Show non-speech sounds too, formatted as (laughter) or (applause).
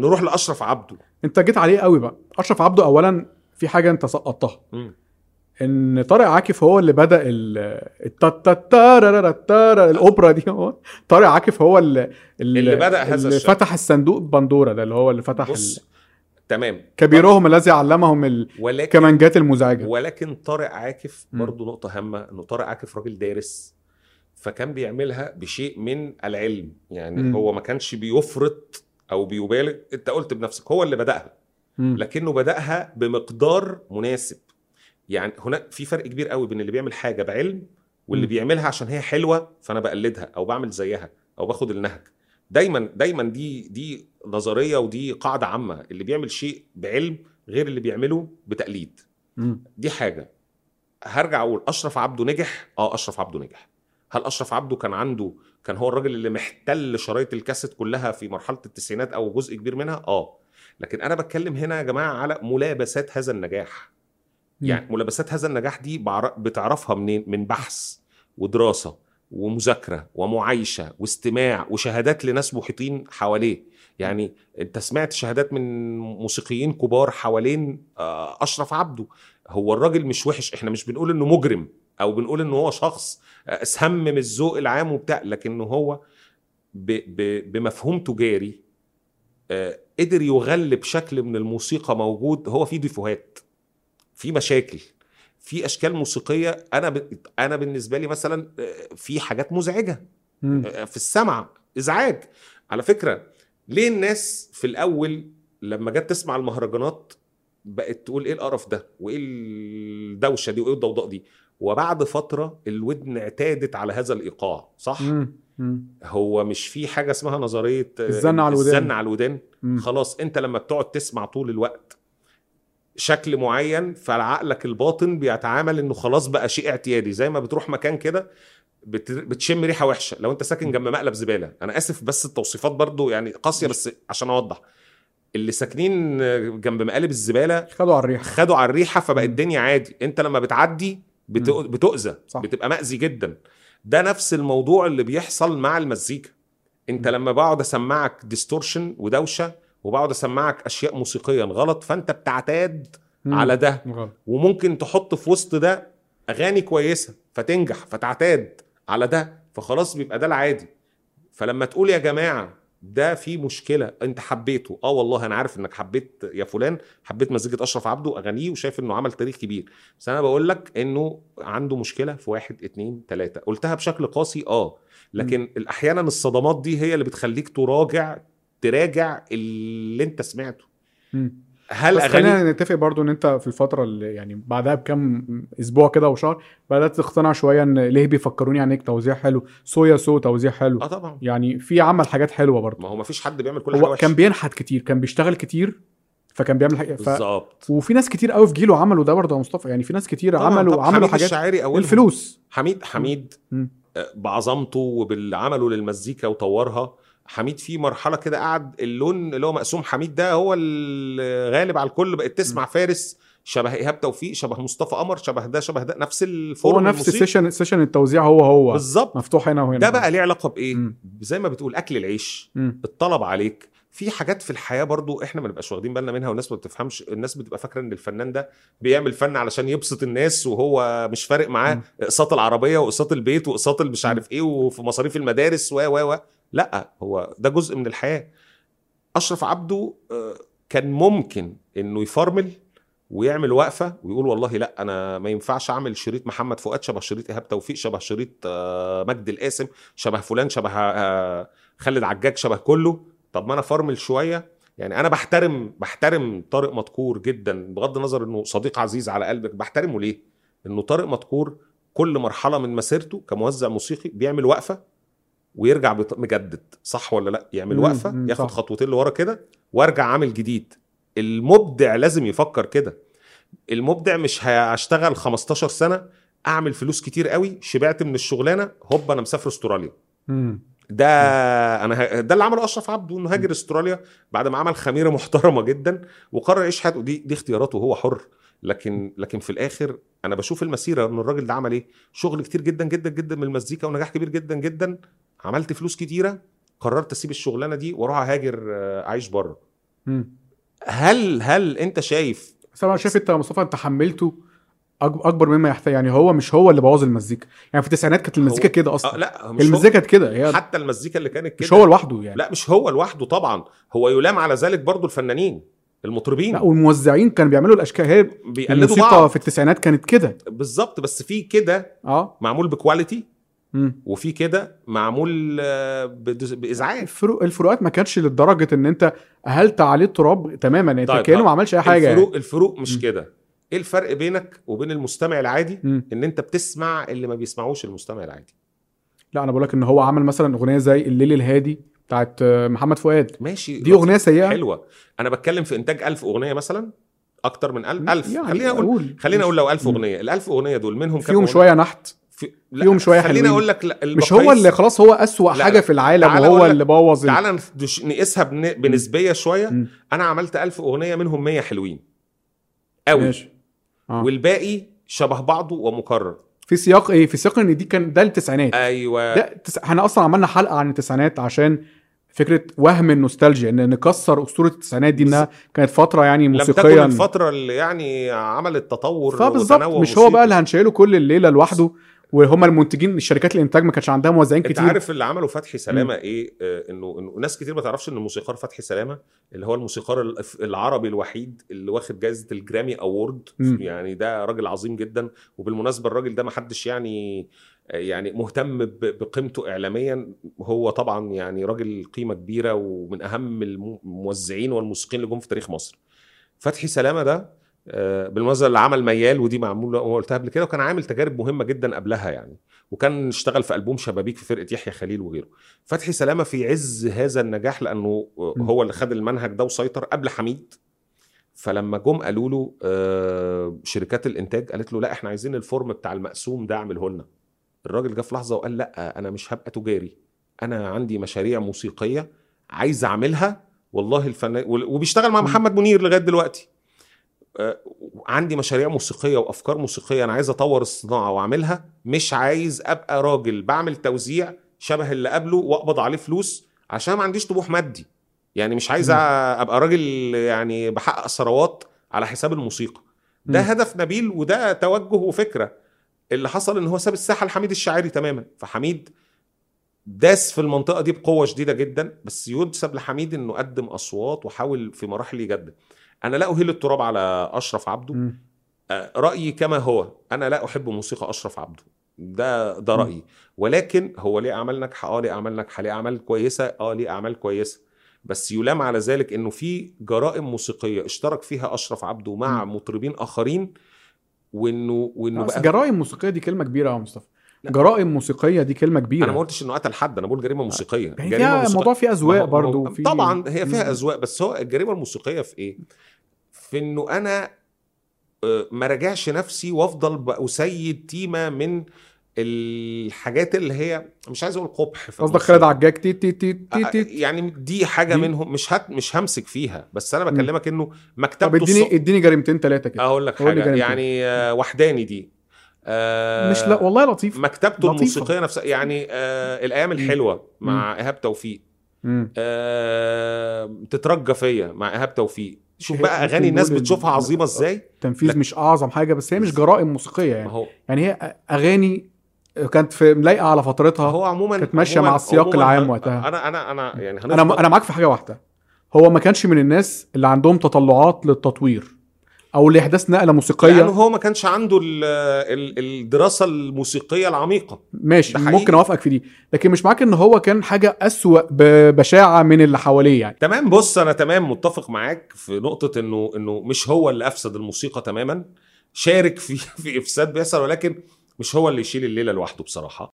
نروح لاشرف عبده انت جيت عليه قوي بقى اشرف عبده اولا في حاجه انت سقطتها مم. ان طارق عاكف هو اللي بدا ال التا- تا- تارارارا- تارا- الاوبرا دي هو طارق عاكف هو اللي اللي بدأ هذا اللي الشأن. فتح الصندوق بندوره ده اللي هو اللي فتح ال- بص تمام كبيرهم الذي علمهم ولكن الكمانجات المزعجه ولكن طارق عاكف مم. برضه نقطة هامة انه طارق عاكف راجل دارس فكان بيعملها بشيء من العلم يعني مم. مم. هو ما كانش بيفرط او بيبالغ انت قلت بنفسك هو اللي بدأها مم. لكنه بدأها بمقدار مناسب يعني هناك في فرق كبير قوي بين اللي بيعمل حاجة بعلم واللي مم. بيعملها عشان هي حلوة فانا بقلدها او بعمل زيها او باخد النهج دايما دايما دي دي نظرية ودي قاعدة عامة اللي بيعمل شيء بعلم غير اللي بيعمله بتقليد مم. دي حاجه هرجع اقول اشرف عبده نجح اه اشرف عبده نجح هل اشرف عبده كان عنده كان هو الراجل اللي محتل شرايط الكاسيت كلها في مرحله التسعينات او جزء كبير منها اه لكن انا بتكلم هنا يا جماعه على ملابسات هذا النجاح يعني ملابسات هذا النجاح دي بعر- بتعرفها منين من بحث ودراسه ومذاكره ومعايشه واستماع وشهادات لناس محيطين حواليه يعني انت سمعت شهادات من موسيقيين كبار حوالين آه، اشرف عبده هو الراجل مش وحش احنا مش بنقول انه مجرم او بنقول انه هو شخص آه، سمم الذوق العام وبتاع لكن هو ب ب بمفهوم تجاري آه، قدر يغلب شكل من الموسيقى موجود هو فيه ديفوهات في مشاكل في اشكال موسيقيه انا ب... انا بالنسبه لي مثلا آه، في حاجات مزعجه مم. في السمع ازعاج على فكره ليه الناس في الاول لما جت تسمع المهرجانات بقت تقول ايه القرف ده وايه الدوشه دي وايه الضوضاء دي وبعد فتره الودن اعتادت على هذا الايقاع صح مم. مم. هو مش في حاجه اسمها نظريه آه، الزن على الودان. الزن على الودان مم. خلاص انت لما بتقعد تسمع طول الوقت شكل معين فعقلك الباطن بيتعامل انه خلاص بقى شيء اعتيادي زي ما بتروح مكان كده بت- بتشم ريحه وحشه لو انت ساكن جنب مقلب زباله انا اسف بس التوصيفات برضو يعني قاسيه بس عشان اوضح اللي ساكنين جنب مقالب الزباله خدوا على الريح خدوا على الريحه فبقت الدنيا عادي انت لما بتعدي بت- مم. بتؤذى صح. بتبقى مأذي جدا ده نفس الموضوع اللي بيحصل مع المزيكا انت لما بقعد اسمعك ديستورشن ودوشه وبقعد اسمعك اشياء موسيقيا غلط فانت بتعتاد مم. على ده غلط وممكن تحط في وسط ده اغاني كويسه فتنجح فتعتاد على ده فخلاص بيبقى ده العادي فلما تقول يا جماعه ده في مشكله انت حبيته اه والله انا عارف انك حبيت يا فلان حبيت مزيكه اشرف عبده اغانيه وشايف انه عمل تاريخ كبير بس انا بقول لك انه عنده مشكله في واحد اتنين تلاته قلتها بشكل قاسي اه لكن احيانا الصدمات دي هي اللي بتخليك تراجع تراجع اللي انت سمعته مم. هل بس اغاني خلينا نتفق برضو ان انت في الفتره اللي يعني بعدها بكام اسبوع كده او شهر بدات تقتنع شويه ان ليه بيفكروني عينيك توزيع حلو صويا سو توزيع حلو اه طبعا يعني في عمل حاجات حلوه برضو ما هو ما فيش حد بيعمل كل حاجه هو وحشه كان بينحت كتير كان بيشتغل كتير فكان بيعمل حاجه ف... بالظبط وفي ناس كتير قوي في جيله عملوا ده برضه يا مصطفى يعني في ناس كتير طبعاً. عملوا طب عملوا حميد حاجات الشاعري اول الفلوس حميد حميد مم. آه، بعظمته وباللي عمله للمزيكا وطورها حميد في مرحله كده قعد اللون اللي هو مقسوم حميد ده هو الغالب على الكل بقت تسمع فارس شبه ايهاب توفيق شبه مصطفى قمر شبه ده شبه ده نفس الفورم هو نفس الموسيقي. السيشن سيشن التوزيع هو هو بالظبط مفتوح هنا وهنا ده بقى ليه علاقه بايه مم. زي ما بتقول اكل العيش مم. الطلب عليك في حاجات في الحياه برضو احنا ما بنبقاش واخدين بالنا منها والناس ما بتفهمش الناس بتبقى فاكره ان الفنان ده بيعمل فن علشان يبسط الناس وهو مش فارق معاه مم. اقساط العربيه واقساط البيت واقساط اللي مش عارف ايه وفي مصاريف المدارس و و و لا هو ده جزء من الحياه اشرف عبده آه، كان ممكن انه يفرمل ويعمل وقفه ويقول والله لا انا ما ينفعش اعمل شريط محمد فؤاد شبه شريط ايهاب توفيق شبه شريط آه، مجدي القاسم شبه فلان شبه آه، خالد عجاج شبه كله طب ما انا فرمل شويه يعني انا بحترم بحترم طارق مدكور جدا بغض النظر انه صديق عزيز على قلبك بحترمه ليه؟ انه طارق مدكور كل مرحله من مسيرته كموزع موسيقي بيعمل وقفه ويرجع بط- مجدد صح ولا لا يعمل مم، وقفه مم، ياخد صح. خطوتين لورا كده وارجع عامل جديد المبدع لازم يفكر كده المبدع مش هشتغل 15 سنه اعمل فلوس كتير قوي شبعت من الشغلانه هوب انا مسافر استراليا مم. ده انا ه... ده اللي عمله اشرف عبده انه هاجر استراليا بعد ما عمل (laughs) خميره محترمه جدا وقرر يعيش حياته دي دي اختياراته هو حر لكن لكن في الاخر انا بشوف المسيره ان الراجل ده عمل ايه شغل كتير جدا جدا جدا من المزيكا ونجاح كبير جدا جدا عملت فلوس كتيره قررت اسيب الشغلانه دي واروح اهاجر آه، اعيش بره مم. هل هل انت شايف بس انا شايف انت يا مصطفى انت حملته أك- اكبر مما يحتاج يعني هو مش هو اللي بوظ المزيكا يعني في التسعينات كانت المزيكا كده آه اصلا لا مش المزيكا كانت كده هو هي حتى المزيكا اللي كانت كده مش هو لوحده يعني لا مش هو لوحده طبعا هو يلام على ذلك برضو الفنانين لا المطربين والموزعين كانوا بيعملوا الاشكال هي بيقلدوا الموسيقى بعض في التسعينات كانت كده بالظبط بس في كده اه معمول بكواليتي مم. وفي كده معمول آه، بدز- بازعاج الفروق الفروقات ما كانتش لدرجه ان انت اهلت عليه التراب تماما يعني طيب، انت كانه طيب. ما عملش اي حاجه يعني. الفروق الفروق مش مم. كده ايه الفرق بينك وبين المستمع العادي مم. ان انت بتسمع اللي ما بيسمعوش المستمع العادي لا انا بقول لك ان هو عمل مثلا اغنيه زي الليل الهادي بتاعت آه، محمد فؤاد ماشي دي يعني؟ اغنيه سيئه حلوه انا بتكلم في انتاج ألف اغنيه مثلا اكتر من ألف, مم. ألف. يعني خلينا اقول اقول خلينا اقول لو ألف مم. اغنيه ال1000 اغنيه دول منهم كام فيهم أغنية؟ شويه نحت في... فيهم شوية خلينا حلوين. اقول لك لا مش هو البقايس- اللي خلاص هو اسوأ لا، حاجه لا. في العالم تعال وهو أقول لك- اللي بوظ ال- تعالى ندش- نقيسها بن... بنسبيه شويه مم. انا عملت ألف اغنيه منهم 100 حلوين قوي ماشي آه. والباقي شبه بعضه ومكرر في سياق ايه في سياق ان دي كان ده التسعينات ايوه ده تس... احنا اصلا عملنا حلقه عن التسعينات عشان فكره وهم النوستالجيا ان نكسر اسطوره التسعينات دي انها كانت فتره يعني لم تكن موسيقيا الفتره اللي يعني عملت تطور فبالظبط وتنوع مش هو بقى موسيقي. اللي هنشيله كل الليله لوحده وهما المنتجين الشركات الانتاج ما كانش عندها موزعين انت كتير عارف اللي عمله فتحي سلامه ايه آه، انه انه ناس كتير ما تعرفش ان الموسيقار فتحي سلامه اللي هو الموسيقار الأف- العربي الوحيد اللي واخد جائزه الجرامي اوورد مم. يعني ده راجل عظيم جدا وبالمناسبه الراجل ده ما حدش يعني آه، يعني مهتم ب- بقيمته اعلاميا هو طبعا يعني راجل قيمه كبيره ومن اهم الم- الموزعين والموسيقيين اللي جم في تاريخ مصر فتحي سلامه ده آه، بالمناسبه اللي عمل ميال ودي معموله قلتها قبل كده وكان عامل تجارب مهمه جدا قبلها يعني وكان اشتغل في البوم شبابيك في فرقه يحيى خليل وغيره فتحي سلامه في عز هذا النجاح لانه هو اللي خد المنهج ده وسيطر قبل حميد فلما جم قالوا له آه، شركات الانتاج قالت له لا احنا عايزين الفورم بتاع المقسوم ده اعمله لنا الراجل جه في لحظه وقال لا انا مش هبقى تجاري انا عندي مشاريع موسيقيه عايز اعملها والله الفنان وال- وبيشتغل مع مم. محمد منير لغايه دلوقتي آه، عندي مشاريع موسيقيه وافكار موسيقيه انا عايز اطور الصناعه واعملها مش عايز ابقى راجل بعمل توزيع شبه اللي قبله واقبض عليه فلوس عشان ما عنديش طموح مادي يعني مش عايز أ- مم. ابقى راجل يعني بحقق ثروات على حساب الموسيقى ده مم. هدف نبيل وده توجه وفكره اللي حصل ان هو ساب الساحه لحميد الشاعري تماما فحميد داس في المنطقه دي بقوه شديده جدا بس ينسب لحميد انه قدم اصوات وحاول في مراحل يجدد انا لا اهيل التراب على اشرف عبده مم. آه، رايي كما هو انا لا احب موسيقى اشرف عبده ده ده مم. رايي ولكن هو ليه اعمال ناجحه اه ليه اعمال ناجحه ليه اعمال كويسه اه ليه اعمال كويسه بس يلام على ذلك انه في جرائم موسيقيه اشترك فيها اشرف عبده مع مطربين اخرين وانه وانه بس بقى جرائم موسيقيه دي كلمه كبيره يا مصطفى لا. جرائم موسيقيه دي كلمه كبيره انا ما قلتش انه قتل حد انا بقول جريمه موسيقيه يعني جريمة فيها موسيقية. الموضوع فيه اذواق ما هو- ما هو- برضه في طبعا هي مم. فيها اذواق بس هو الجريمه الموسيقيه في ايه؟ في انه انا آه، ما راجعش نفسي وافضل ب- اسيد تيمه من الحاجات اللي هي مش عايز اقول قبح في قصدك الموسيقى. خالد عجاج تي تي تي تي آه، تي يعني دي حاجه دي- منهم مش هت مش همسك فيها بس انا مم. بكلمك انه طب مكتبته اديني الص- اديني جريمتين ثلاثه كده اقول لك قول لي حاجه جانب يعني آه، وحداني دي آه، مش لا والله لطيف مكتبته لطيفة. الموسيقيه نفسها يعني آه الايام الحلوه مع ايهاب توفيق مم. آه تترجى فيا مع ايهاب توفيق شوف هي- بقى ممكن اغاني الناس نقول إن- آه، بتشوفها عظيمه ازاي تنفيذ لك- مش اعظم حاجه بس هي مش جرائم موسيقيه ما يعني هو يعني هي اغاني كانت في ملايقه على فترتها هو عموما كانت ماشية عموماً- مع السياق عموماً العام هن- وقتها. انا انا انا يعني هنفضل انا انا معاك في حاجه واحده هو ما كانش من الناس اللي عندهم تطلعات للتطوير او لاحداث نقله لانه موسيقيه هو ما كانش عنده ال- ال- الدراسه الموسيقيه العميقه ماشي ده حقيقي. ممكن اوافقك في دي لكن مش معاك ان هو كان حاجه اسوا ببشاعه من اللي حواليه يعني تمام بص انا تمام متفق معاك في نقطه انه انه مش هو اللي افسد الموسيقى (laughs) تماما شارك في في افساد بيحصل ولكن مش هو اللي يشيل الليله لوحده بصراحه